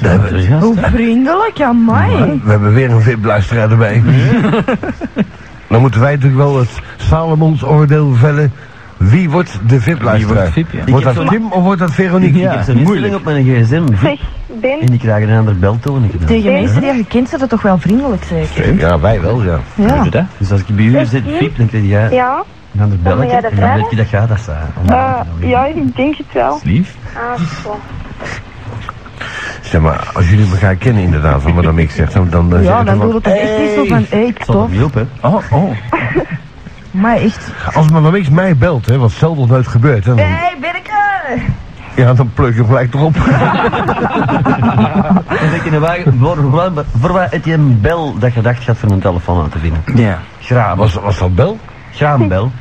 Speaker 1: Daar hebben we-
Speaker 2: Ja,
Speaker 5: Hoe vriendelijk, amai.
Speaker 1: We hebben weer een VIP-luisteraar erbij. [laughs] Dan moeten wij natuurlijk wel het Salomons oordeel vellen. Wie wordt de VIP-luisteraar?
Speaker 9: Wie wordt VIP, ja.
Speaker 1: Wordt
Speaker 2: Ik heb
Speaker 1: dat
Speaker 2: zo'n-
Speaker 1: Kim of wordt dat Veronique?
Speaker 2: Ik heb zo'n instelling op mijn gsm.
Speaker 8: Zeg,
Speaker 2: En
Speaker 8: Ben,
Speaker 2: die krijgen een ander beltoon.
Speaker 5: Tegen mensen die je kent zijn dat toch wel vriendelijk, zeker?
Speaker 1: Ja, wij wel, ja.
Speaker 5: Ja.
Speaker 9: Weet je dat?
Speaker 2: Dus als ik bij u zit, piep, dan krijg jij
Speaker 8: ja?
Speaker 2: een ander
Speaker 7: moet
Speaker 2: belletje.
Speaker 7: jij
Speaker 2: En
Speaker 7: dat
Speaker 2: dan weet
Speaker 7: vragen?
Speaker 2: je dat gaat dat zijn.
Speaker 8: Eh,
Speaker 2: nou,
Speaker 8: ja, ik denk het wel.
Speaker 9: Lief.
Speaker 7: Ah, zo.
Speaker 1: Zeg maar, als jullie elkaar kennen inderdaad, van wat ik zeg, dan... dan eh,
Speaker 5: Ja,
Speaker 1: zeggen ze
Speaker 5: dan
Speaker 1: van,
Speaker 5: doet het dan echt niet zo van, hé, ik
Speaker 2: Zal
Speaker 5: tof.
Speaker 2: hem op, hè?
Speaker 9: Oh, oh.
Speaker 5: Maar echt.
Speaker 1: Als Madame X mij belt, hè, wat zelden of nooit gebeurt, hè, dan,
Speaker 5: hey, Birke!
Speaker 1: ja, dan pluk ik hem gelijk
Speaker 5: [laughs]
Speaker 1: erop.
Speaker 2: Dan denk je, nou, waar- voor, voor, voor wat heb je een bel dat je dacht gaat van een telefoon aan te vinden?
Speaker 9: Ja.
Speaker 2: Graam,
Speaker 1: was, was dat bel?
Speaker 2: graambel.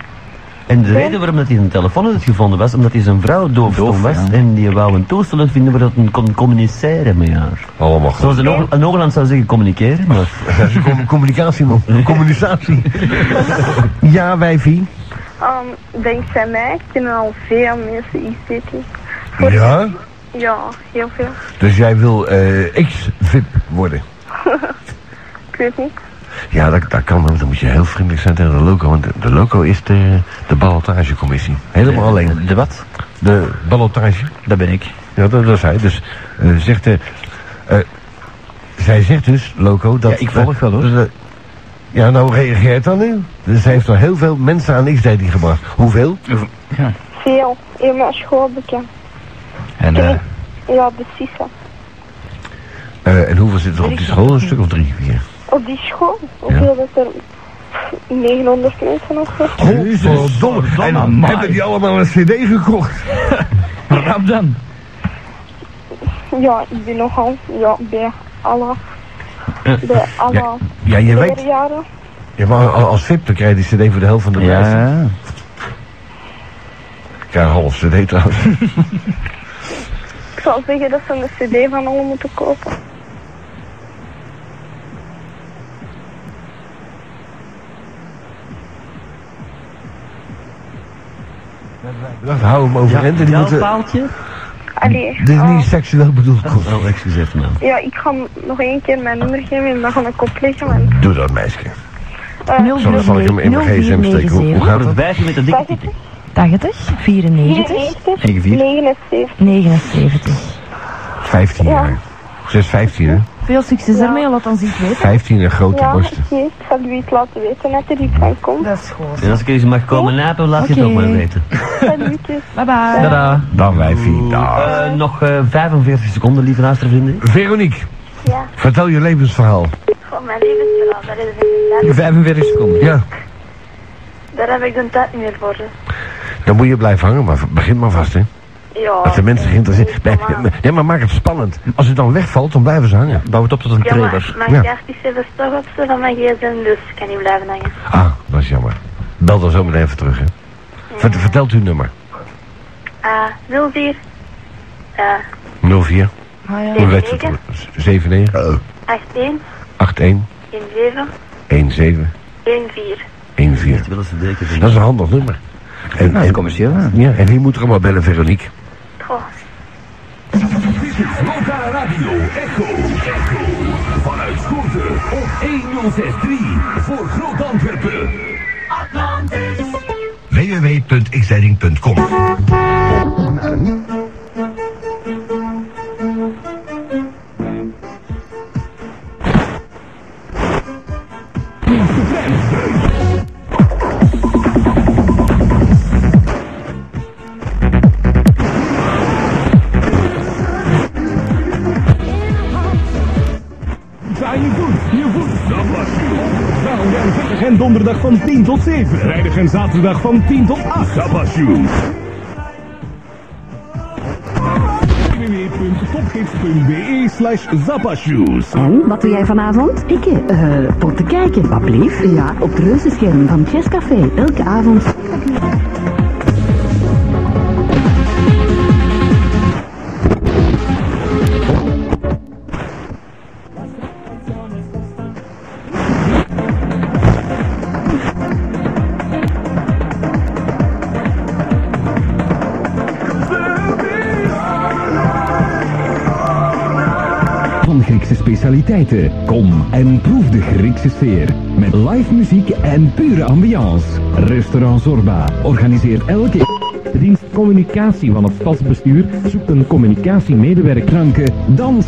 Speaker 2: En de reden waarom dat hij een telefoon had gevonden was, omdat hij zijn vrouw doofstom
Speaker 9: Doof,
Speaker 2: was
Speaker 9: ja.
Speaker 2: en die wou een toestel uitvinden waar dat hij kon communiceren met haar.
Speaker 1: Allemaal goed.
Speaker 2: Zoals een, Oog- een Oogland zou zeggen, communiceren, maar
Speaker 1: Dat is een com- communicatie,
Speaker 9: [laughs]
Speaker 1: man. Een Communicatie. Ja, wijfie.
Speaker 8: Um, denk aan mij kennen al veel mensen ICT.
Speaker 1: Ja?
Speaker 8: Ja, heel veel.
Speaker 1: Dus jij wil eh X-VIP worden?
Speaker 8: Ik weet niet.
Speaker 1: Ja, dat, dat kan, want dan moet je heel vriendelijk zijn tegen de loco. Want de, de loco is de, de ballotagecommissie. Helemaal alleen.
Speaker 9: De wat?
Speaker 1: De ballotage.
Speaker 9: Dat ben ik.
Speaker 1: Ja, dat, dat is hij. Dus eh, zegt de... eh, zij zegt dus, loco, dat...
Speaker 9: Ja, ik volg wel, hoor.
Speaker 1: dat- dat- ja, nou reageert dan nu. Dus zij heeft al heel veel mensen aan X-dating gebracht. Hoeveel?
Speaker 8: Veel. In mijn school bekend.
Speaker 9: En eh,
Speaker 8: Ja, precies. hè.
Speaker 1: Eh, en hoeveel zitten er op die school? Een stuk of drie, vier.
Speaker 8: Op die school, hoeveel dat er? Pff, 900 mensen of zo.
Speaker 1: Godverdomme. En
Speaker 9: amai.
Speaker 2: Ah,
Speaker 1: hebben die allemaal een cd gekocht?
Speaker 9: rap dan.
Speaker 8: Ja, ik ben nogal ja, bij alle. Bij alle
Speaker 1: ja, Ja, je weet...
Speaker 8: leerjaren.
Speaker 1: Ja, maar al- als VIP dan krijg je die cd voor de helft van de prijs.
Speaker 9: Ja.
Speaker 1: Ik krijg een half cd trouwens.
Speaker 8: Ik zou zeggen dat ze een cd van alle moeten kopen.
Speaker 1: Bedankt, hou hem overeind en die moeten...
Speaker 2: paaltje?
Speaker 8: Allee.
Speaker 1: Dit is
Speaker 8: ah,
Speaker 1: niet seksueel bedoeld. Koen.
Speaker 2: Oh, excuseer man.
Speaker 8: ja, ik ga hem nog één keer mijn nummer geven en dan ga ik opleggen. Want,
Speaker 1: Doe dat, meisje. Zal, zal ik hem in mijn gsm steken? Hoe, hoe
Speaker 5: 0497
Speaker 1: gaat dat?
Speaker 2: Verwijf je met de dikke tikken.
Speaker 5: 80 94
Speaker 8: 94,
Speaker 9: 94.
Speaker 8: 79.
Speaker 5: 79.
Speaker 1: 15
Speaker 8: Ja.
Speaker 1: jaar. Ze is 15, hè?
Speaker 5: Veel succes ermee, laat ons iets weten.
Speaker 1: 15 en grote
Speaker 8: Ja,
Speaker 1: borsten.
Speaker 8: oké. Ik zal u iets laten weten dat er iets aan komt.
Speaker 5: Dat is goed.
Speaker 2: En als ik eens mag komen napen, laat je het ook
Speaker 5: Oké.
Speaker 2: maar weten.
Speaker 1: [laughs]
Speaker 8: Salutjes.
Speaker 5: Bye bye.
Speaker 2: Tada.
Speaker 1: Dan wijfie, daar.
Speaker 2: Eh, nog eh, 45 seconden, lieve luistervrienden.
Speaker 1: Veronique,
Speaker 7: Ja,
Speaker 1: vertel je levensverhaal.
Speaker 7: voor mijn levensverhaal, daar is inderdaad.
Speaker 9: 45 seconden.
Speaker 1: Ja,
Speaker 7: Daar heb ik de tijd niet meer voor. hè.
Speaker 1: dan moet je blijven hangen, maar v- begin maar vast, hè.
Speaker 7: Ja.
Speaker 1: Als de mensen geïnteresseerd... Nee,
Speaker 7: Kom aan.
Speaker 1: nee, maar maak het spannend. Als het dan wegvalt, dan blijven ze hangen.
Speaker 9: Bouw het op tot een
Speaker 7: Ja, maar
Speaker 9: trailer.
Speaker 7: mijn
Speaker 1: Ja.
Speaker 7: kaart is even toch op ze van mijn gsm, dus ik kan niet blijven hangen.
Speaker 1: Ah, dat is jammer. Bel dan zo meteen even terug, hè. Vert- Vertelt uw nummer.
Speaker 7: Ah, 04. Ah,
Speaker 1: 04
Speaker 5: Ah, ja.
Speaker 7: 79
Speaker 1: 79
Speaker 7: 81
Speaker 1: 81
Speaker 7: 17
Speaker 1: 17
Speaker 7: 14.
Speaker 1: 14.
Speaker 2: Ik wil eens een dikke
Speaker 1: Dat
Speaker 2: vinden.
Speaker 1: is een handig nummer. En,
Speaker 9: Nou,
Speaker 1: en-
Speaker 9: commercieel. hè.
Speaker 1: ja, en wie moet er allemaal bellen, Veronique?
Speaker 7: Goh.
Speaker 3: Radio Echo. Echo. Vanuit Schoten op 1063 voor Groot Antwerpen.
Speaker 1: www.xleiding.com
Speaker 3: Draai je voet, je voet. Dat was Vrijdag en donderdag van 10 tot 7. Vrijdag en zaterdag van 10 tot 8. Dat was you. www.topgids.be slash zappashoes.
Speaker 10: En, wat doe jij vanavond? Ik, eh, potten kijken. Wat blief? Ja, op het reuzenscherm van het Chesscafé. Elke avond.
Speaker 11: van Griekse specialiteiten. Kom en proef de Griekse sfeer. Met live muziek en pure ambiance. Restaurant Zorba organiseert elke...
Speaker 12: De dienst communicatie van het stadsbestuur zoekt een communicatiemedewerker. Kranken, dans.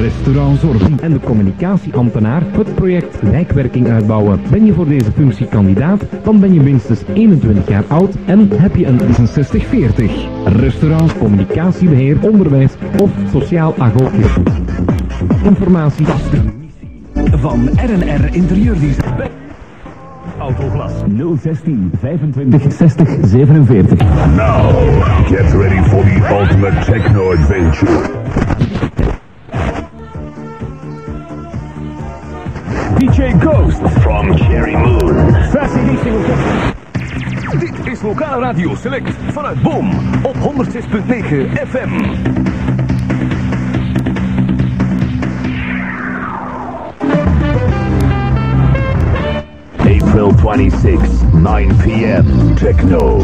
Speaker 12: Restaurant Zorben en de communicatieambtenaar het project Wijkwerking uitbouwen. Ben je voor deze functie kandidaat, dan ben je minstens 21 jaar oud en heb je een 6040. Restaurant, communicatiebeheer, onderwijs of sociaal agootje. Informatie.
Speaker 11: Van RNR Interieurdesign. Autoglas 016 25 60 47.
Speaker 3: Now, get ready for the ultimate techno adventure. DJ Ghost from Cherry Moon. Dit is Lokale Radio Select vanuit Boom op 106.9 FM. April 26, 9 p.m. Techno.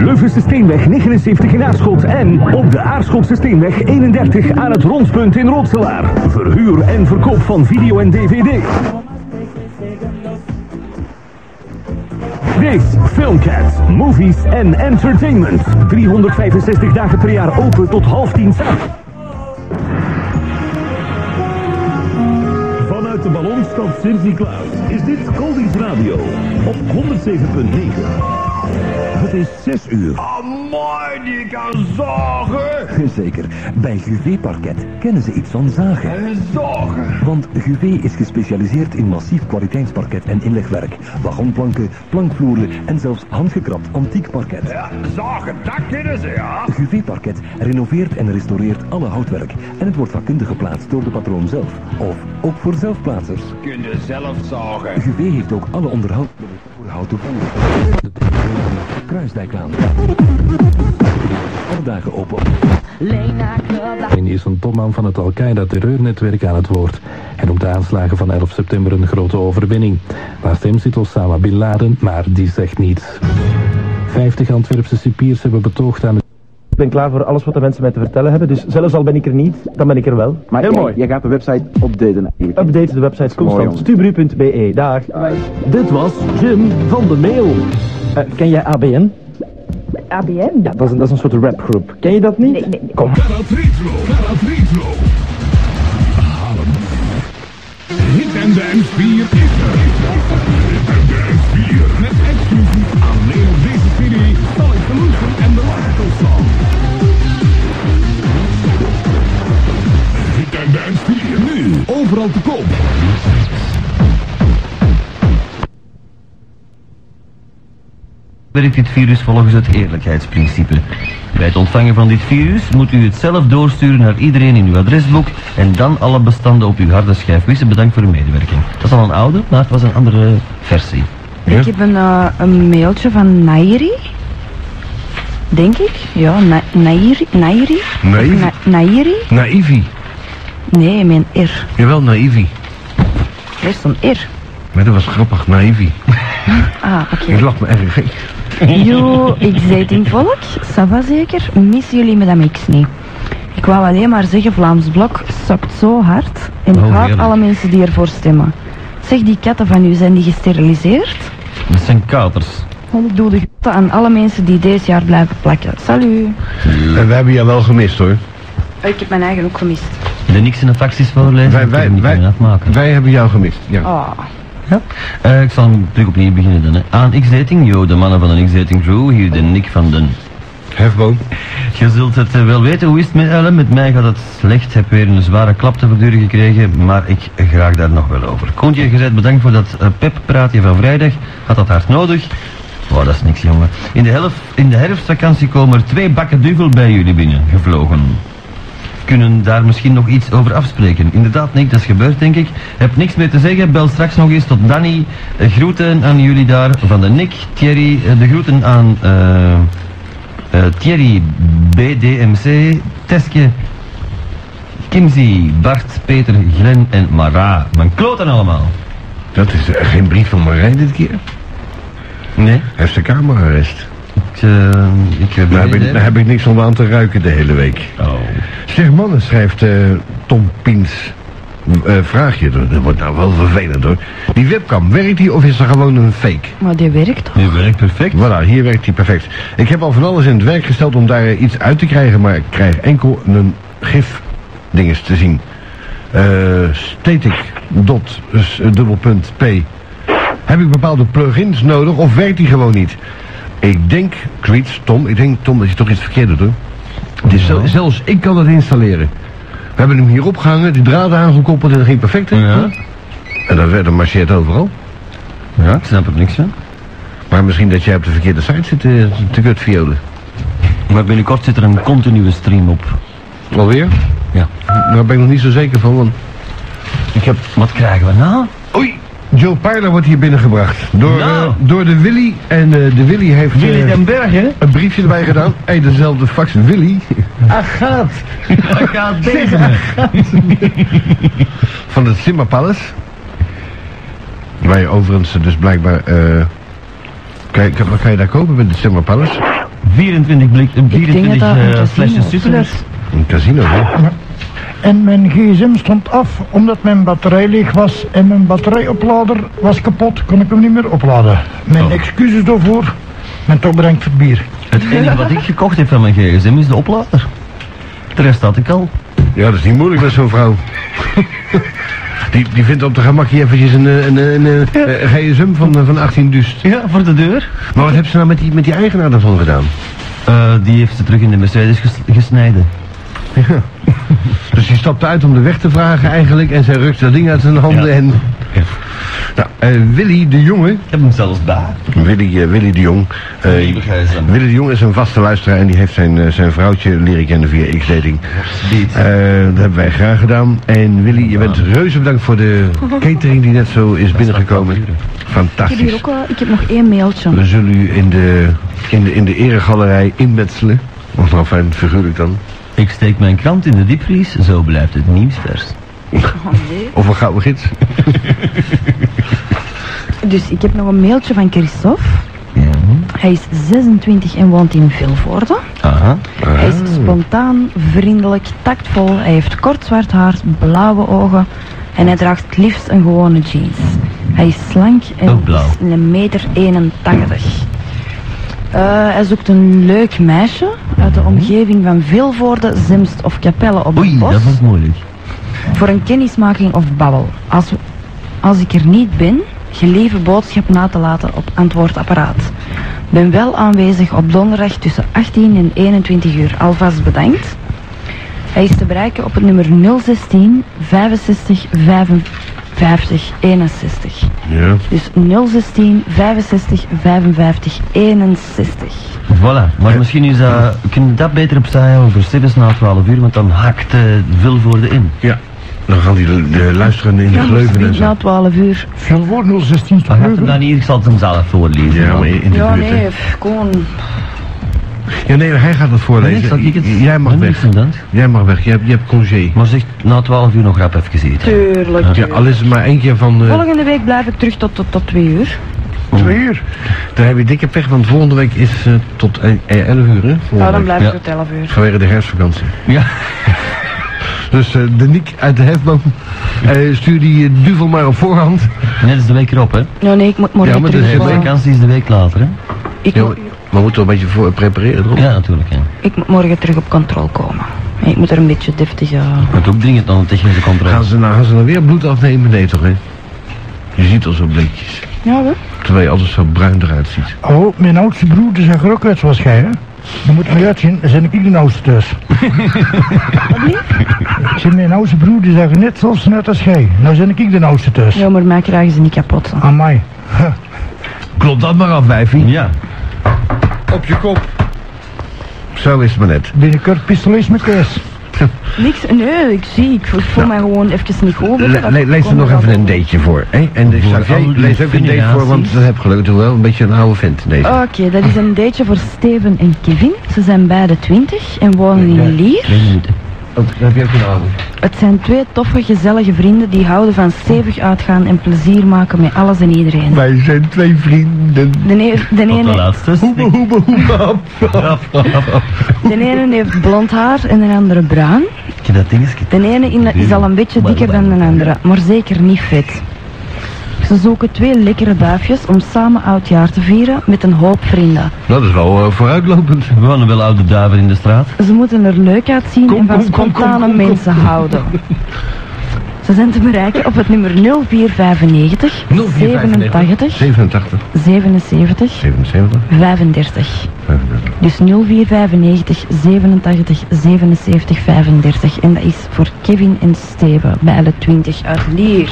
Speaker 3: Leuvense Steenweg 79 in Aarschot en op de Aarschotse Steenweg 31 aan het rondpunt in Rotselaar. Verhuur en verkoop van video en dvd. Dit, Filmcat, Movies en Entertainment. 365 dagen per jaar open tot half tien s'avonds. Vanuit de ballonstad Sint Klaus is dit Goldies Radio op 107.9. Het is 6 uur. mooi die kan zagen!
Speaker 11: Zeker, bij Guvé Parket kennen ze iets van zagen.
Speaker 3: Zagen!
Speaker 11: Want Guvé is gespecialiseerd in massief kwaliteitsparket en inlegwerk. Wagonplanken, plankvloeren en zelfs handgekrapt antiek parket.
Speaker 3: Ja, zagen, dat kennen ze, ja.
Speaker 11: Guvé Parket renoveert en restaureert alle houtwerk. En het wordt vakkundig geplaatst door de patroon zelf. Of ook voor zelfplaatsers.
Speaker 3: Kun je zelf zagen.
Speaker 11: UV heeft ook alle onderhoud voor hout toegankelijk. Kruisdijk aan. Alle dagen open.
Speaker 13: En hier is een topman van het Al-Qaeda-terreurnetwerk aan het woord. Hij noemt de aanslagen van 11 september een grote overwinning. Naast hem zit Osama Bin Laden, maar die zegt niets. 50 Antwerpse cipiers hebben betoogd aan de...
Speaker 14: Ik ben klaar voor alles wat de mensen mij te vertellen hebben. Dus zelfs al ben ik er niet, dan ben ik er wel.
Speaker 15: Maar
Speaker 14: Heel
Speaker 15: jij,
Speaker 14: mooi.
Speaker 15: jij gaat de website updaten eigenlijk.
Speaker 14: Update de website constant.
Speaker 15: jongen.
Speaker 14: Stubru.be. Daar. Dit was Jim van de Mail. Eh, ken jij ABN?
Speaker 16: ABN?
Speaker 14: Ja, dat is, een, dat is een soort rapgroep. Ken je dat niet? Kom.
Speaker 3: Gerard Retro, Gerard Retro. Halen. Hit and Dance 4 is er. Hit and Dance 4. Met exclusief alleen op deze CD Solid Solution en The Radical Song. Hit and Dance 4. Nu, overal te koop.
Speaker 2: werkt dit virus volgens het eerlijkheidsprincipe. Bij het ontvangen van dit virus moet u het zelf doorsturen naar iedereen in uw adresboek en dan alle bestanden op uw harde schijf wissen. Bedankt voor uw medewerking. Dat is al een oude, maar het was een andere versie.
Speaker 5: Ik heb een, eh, een mailtje van Nairi. Denk ik. Ja, Na Nairi. Nairi.
Speaker 1: Nairi?
Speaker 5: Na- Nairi.
Speaker 1: Naïvi.
Speaker 5: Nee, mijn R.
Speaker 1: Jawel, naïvi.
Speaker 5: Er is een R.
Speaker 1: Maar dat was grappig, naïvi.
Speaker 5: Ah, oké.
Speaker 1: Ik lach me erg. hè.
Speaker 5: Yo, ik zei volk, ça va zeker? Missen jullie Madame X niet? Ik wou alleen maar zeggen, Vlaams Blok sokt zo hard en
Speaker 10: Oh,
Speaker 5: haat
Speaker 10: heerlijk.
Speaker 5: alle mensen die ervoor stemmen. Zeg, die katten van u, zijn die gesteriliseerd?
Speaker 2: Dat zijn katers.
Speaker 5: Want ik doe de groeten aan alle mensen die deze jaar blijven plakken. Salut!
Speaker 1: En we hebben je wel gemist hoor.
Speaker 5: Oh, ik heb mijn eigen ook gemist.
Speaker 2: De niks in de taxis voorlezen, wij, wij, niet meer afmaken.
Speaker 1: Wij hebben jou gemist, ja.
Speaker 5: Oh.
Speaker 2: Ja. Eh, ik zal hem terug opnieuw beginnen dan. Hè. Aan X-Dating, yo, de mannen van de X-Dating Crew, hier de Nick van den...
Speaker 1: Hefboom.
Speaker 2: Je zult het eh, wel weten, hoe is het met Ellen? Met mij gaat het slecht, heb weer een zware klap te verduren gekregen, maar ik graag daar nog wel over. Koentje, gezet bedankt voor dat eh, pep-praatje van vrijdag. Had dat hard nodig? Oh, dat is niks, jongen. In de, helft, in de herfstvakantie komen er twee bakken duvel bij jullie binnen, gevlogen kunnen daar misschien nog iets over afspreken. Inderdaad, Nick, dat is gebeurd, denk ik. Heb niks meer te zeggen. Bel straks nog eens tot Danny. Eh, Groeten aan jullie daar van de Nick, Thierry. eh, De groeten aan eh, eh, Thierry, BDMC, Teske, Kimsey, Bart, Peter, Glen en Mara. Mijn kloten allemaal.
Speaker 1: Dat is eh, geen brief van Marij dit keer.
Speaker 2: Nee.
Speaker 1: Heeft de kamerarrest.
Speaker 2: Ik, eh ik heb
Speaker 1: daar, heb
Speaker 2: idee.
Speaker 1: ik, daar heb ik niks om aan te ruiken de hele week.
Speaker 2: Oh.
Speaker 1: Zeg mannen, schrijft eh, Tom Piens. Eh, vraag je, dat wordt nou wel vervelend hoor. Die webcam, werkt die of is er gewoon een fake?
Speaker 5: Maar die werkt toch?
Speaker 2: Die werkt perfect.
Speaker 1: Voilà, hier werkt die perfect. Ik heb al van alles in het werk gesteld om daar eh, iets uit te krijgen, maar ik krijg enkel een gif dinges te zien. Eh static dot, dus, eh, dubbel punt p. Heb ik bepaalde plugins nodig of werkt die gewoon niet? Ik denk, Creeds, Tom, ik denk Tom dat je toch iets verkeerd doet hoor. Het is zo- zelfs ik kan het installeren. We hebben hem hier opgehangen, die draden aangekoppeld en dat ging perfect. hè? En dat, dat marcheert overal.
Speaker 2: Ja, ik snap er niks van.
Speaker 1: Maar misschien dat jij op de verkeerde site zit eh, te kutviolen.
Speaker 2: Maar binnenkort zit er een continue stream op.
Speaker 1: Alweer?
Speaker 2: Ja.
Speaker 1: Daar ben ik nog niet zo zeker van, want...
Speaker 2: Ik heb... Wat krijgen we nou?
Speaker 1: Oei! Joe Pijler wordt hier binnengebracht. Door,
Speaker 2: Nou.
Speaker 1: eh, door de Willy. En eh, de Willy heeft...
Speaker 2: Willy
Speaker 1: eh,
Speaker 2: den Berg, hè?
Speaker 1: Een briefje erbij [laughs] gedaan. Hé, dezelfde fax. Willy. Agaat.
Speaker 2: Agaat
Speaker 1: deze Van het Simba Palace. Waar je overigens dus blijkbaar... eh kan, je, wat kan je daar kopen met het Simba Palace?
Speaker 2: 24 blik, eh,
Speaker 1: denk dat
Speaker 2: 24
Speaker 1: dat een
Speaker 2: eh,
Speaker 1: casino
Speaker 2: flesjes
Speaker 1: is.
Speaker 2: superles.
Speaker 1: Een casino, hè?
Speaker 17: En mijn gsm stond af omdat mijn batterij leeg was en mijn batterijoplader was kapot, kon ik hem niet meer opladen. Mijn excuses daarvoor, en toch bedankt voor het bier.
Speaker 2: Het enige wat ik gekocht heb van mijn gsm is de oplader. De rest had ik al.
Speaker 1: Ja, dat is niet moeilijk met zo'n [laughs] vrouw. die, die vindt op de gemakje eventjes een, eh, een, een, een, eh, gsm van, eh, van 18 dust.
Speaker 2: Ja, voor de deur.
Speaker 1: Maar wat hebben ze nou met die, met die eigenaar daarvan gedaan?
Speaker 2: Eh, die heeft ze terug in de Mercedes ges- gesneden.
Speaker 1: Ja. dus die stapte uit om de weg te vragen eigenlijk en zij rukte dat ding uit zijn handen en... Nou, eh, Willy de Jonge... Ik
Speaker 2: heb hem zelfs daar.
Speaker 1: Willy, eh, Willy de Jong. eh, Willy de Jong is een vaste luisteraar en die heeft zijn, eh, zijn vrouwtje leren kennen via X-Dating. Eh, dat hebben wij graag gedaan. En Willy, je bent reuze bedankt voor [laughs] de catering die net zo is binnengekomen.
Speaker 5: Ik heb, hier
Speaker 1: Fantastisch.
Speaker 5: ook, eh, ik heb nog één mailtje.
Speaker 1: We zullen u in de, in de, in de eregalerij inmetselen. Of nou fijn, figuurlijk dan.
Speaker 2: Ik steek mijn krant in de diepvries, zo blijft het nieuws vers.
Speaker 1: Of een gouden gids.
Speaker 5: Dus ik heb nog een mailtje van Christophe. Hij is 26 en woont in Vilvoorde.
Speaker 2: Aha.
Speaker 5: Hij is
Speaker 2: Ah.
Speaker 5: spontaan, vriendelijk, tactvol. Hij heeft kort zwart haar, blauwe ogen en hij draagt het liefst een gewone jeans. Hij is slank en
Speaker 2: Ook Oh, blauw.
Speaker 5: is een meter 81. Eh, hij zoekt een leuk meisje uit de omgeving van Vilvoorde, Zemst of Capelle op
Speaker 2: Oh. Oei,
Speaker 5: het bos
Speaker 2: dat was moeilijk.
Speaker 5: voor een kennismaking of babbel. Als, als ik er niet ben, gelieve boodschap na te laten op antwoordapparaat. Ben wel aanwezig op donderdag tussen 18 en 21 uur. Alvast bedankt. Hij is te bereiken op het nummer 016 65 55 61.
Speaker 1: Ja.
Speaker 5: Dus 016 65 55 61.
Speaker 2: Voilà, maar misschien is dat, kunnen we dat beter opzij houden voor Sibbes na 12 uur, want dan hakt eh Vilvoorde in.
Speaker 1: Ja. Dan gaan die de, de luisterenden in de gleuven en zo.
Speaker 5: Na 12 uur.
Speaker 17: Veel woord 016
Speaker 2: Maar gaat hem dan hier, ik zal het hem zelf voorlezen.
Speaker 1: Ja, maar in de
Speaker 5: Ja,
Speaker 1: buurt, hè.
Speaker 5: nee, pff, gewoon.
Speaker 1: Ja, nee, hij gaat het
Speaker 2: Nee, zal
Speaker 1: voorlezen.
Speaker 2: ik het-
Speaker 1: J- Jij mag
Speaker 2: Nee,
Speaker 1: weg. Jij mag weg, je hebt, je hebt congé.
Speaker 2: Maar zeg, na 12 uur nog rap even gezeten.
Speaker 5: Tuurlijk.
Speaker 1: Ja, al is het maar één keer van... eh,
Speaker 5: Volgende week blijf ik terug tot, tot, tot 2 uur.
Speaker 2: Oké,
Speaker 17: Twee uur.
Speaker 1: Daar heb je dikke pech, want volgende week is eh, tot eh, 11 uur, hè? volgende
Speaker 5: Nou, dan
Speaker 1: week.
Speaker 5: blijft het tot 11 uur.
Speaker 1: Vanwege de herfstvakantie. Ja.
Speaker 2: [laughs]
Speaker 1: dus eh, de Niek uit de hefboom, eh, stuur die eh, duvel maar op voorhand. Net is de week erop, hè?
Speaker 5: Nou nee, ik moet morgen
Speaker 1: ja, maar
Speaker 5: terug.
Speaker 1: de
Speaker 5: eh,
Speaker 1: vakantie is de week later, hè?
Speaker 5: Ik
Speaker 1: ja,
Speaker 5: moet-
Speaker 1: maar, maar moeten we een beetje voor prepareren, toch? Ja, natuurlijk, ja.
Speaker 5: Ik moet morgen terug op controle komen. En ik moet er een beetje deftig... eh,
Speaker 2: Het ook dringend aan de technische controle.
Speaker 1: Gaan ze, nou, gaan ze nou weer bloed afnemen? Nee, toch, hè? Je ziet al zo bleekjes.
Speaker 5: Ja, hoor.
Speaker 1: Terwijl je altijd zo bruin eruit ziet.
Speaker 17: Oh, mijn oudste broer is er ook uit zoals jij, hè? Je moet mij uitzien, dan ben ik de oudste thuis. Ik zeg, mijn oudste broer die zag er net zo net als jij. Nou ben ik de oudste thuis.
Speaker 1: Dus-
Speaker 5: Ja, maar mij krijgen ze niet kapot.
Speaker 17: Amai.
Speaker 1: Klopt dat maar af, wijfie. Ja. Op je kop. Zo is het maar net.
Speaker 17: Binnenkort pistolis met Kees.
Speaker 5: Niks, nee, ik zie. Ik voel voel mij gewoon even niet goed. weet je,
Speaker 1: Le-
Speaker 5: dat
Speaker 1: le- lees er
Speaker 5: komt
Speaker 1: nog
Speaker 5: wel.
Speaker 1: even een dateje voor. Hè? En ik zou-
Speaker 2: Voor
Speaker 1: jij
Speaker 2: al die
Speaker 1: lees ook een date voor, want
Speaker 2: generaties.
Speaker 1: dat heb gelukkig wel een beetje een oude vent deze.
Speaker 5: Oké, dat is een dateje voor Steven en Kevin. Ze zijn beide 20 en wonen in Lier.
Speaker 1: Twee minuten. Oh, dan heb je ook een oude.
Speaker 5: Het zijn twee toffe, gezellige vrienden die houden van stevig uitgaan en plezier maken met alles en iedereen.
Speaker 1: Wij zijn twee vrienden.
Speaker 5: De, nee- de ene,
Speaker 2: laatste. Hoebe,
Speaker 1: hoebe, hoebe.
Speaker 5: de ene heeft blond haar en de andere bruin.
Speaker 2: Heb je dat dingetje?
Speaker 5: De ene in- is al een beetje dikker dan de andere, maar zeker niet vet. Ze zoeken twee lekkere duifjes om samen oudjaar te vieren met een hoop vrienden.
Speaker 1: Dat is wel eh, vooruitlopend.
Speaker 2: We wonen wel oude duiven in de straat.
Speaker 5: Ze moeten er leuk uitzien en van
Speaker 2: kom, kom,
Speaker 5: spontane
Speaker 2: kom, kom, kom.
Speaker 5: mensen
Speaker 2: [laughs]
Speaker 5: houden. Ze zijn te bereiken op het nummer 0495 87
Speaker 1: 87.
Speaker 5: 77
Speaker 1: 77.
Speaker 5: 35. Dus 0495 87 77 35. En dat is voor Kevin en Steven, bij alle 20 uit Lier.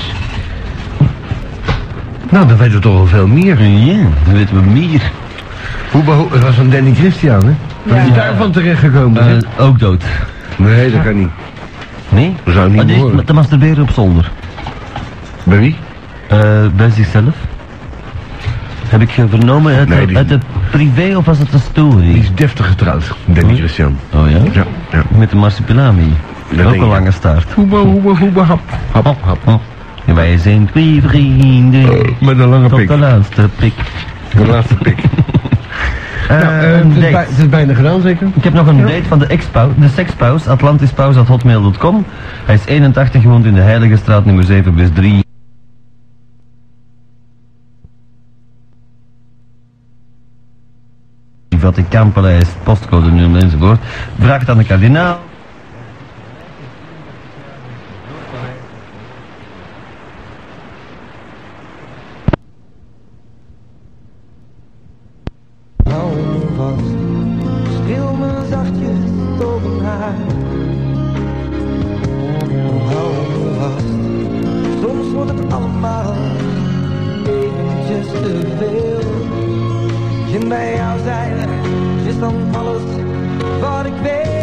Speaker 1: Nou, dan weten we toch wel veel meer. Ja, dan weten we meer. Hoe beho- het was een Danny Christian, hè? Wat is daarvan terechtgekomen? ook dood. eh, Nee, dat kan niet.
Speaker 2: Eh, Nee?
Speaker 1: Dat zou niet
Speaker 2: Ah, die is
Speaker 1: behoren.
Speaker 2: met- Te masturberen op zolder. Eh,
Speaker 1: Bij wie?
Speaker 2: bij zichzelf. Heb ik eh, vernomen uit,
Speaker 1: Nee,
Speaker 2: de,
Speaker 1: die-
Speaker 2: uit de privé of was het een story?
Speaker 1: Die is deftig getrouwd, Danny Christian.
Speaker 2: Oh ja?
Speaker 1: Ja.
Speaker 2: Met de marsupilami. Ook
Speaker 1: denk
Speaker 2: een
Speaker 1: ik.
Speaker 2: lange staart. Oh.
Speaker 1: Hoeba, hoeba, hoeba, hap. Hap, hap, hap.
Speaker 2: En wij zijn twee vrienden.
Speaker 1: met een lange
Speaker 2: Tot
Speaker 1: pik.
Speaker 2: de laatste pik.
Speaker 1: De laatste pik.
Speaker 2: nou,
Speaker 1: eh, het is bij- het is bijna gedaan zeker?
Speaker 2: Ik heb nog een date van de, expo, de sekspaus, atlantispaus.hotmail.com. Hij is 81, woont in de Heilige Straat nummer 7 bis 3. Vaticaanpaleis, postcode 0 enzovoort. Vraag het aan de kardinaal.
Speaker 18: Hou me vast, streel me zachtjes over haar. Hou me vast, Oh, soms wordt het allemaal eventjes te veel. En bij jou zijn er is dan alles wat ik weet.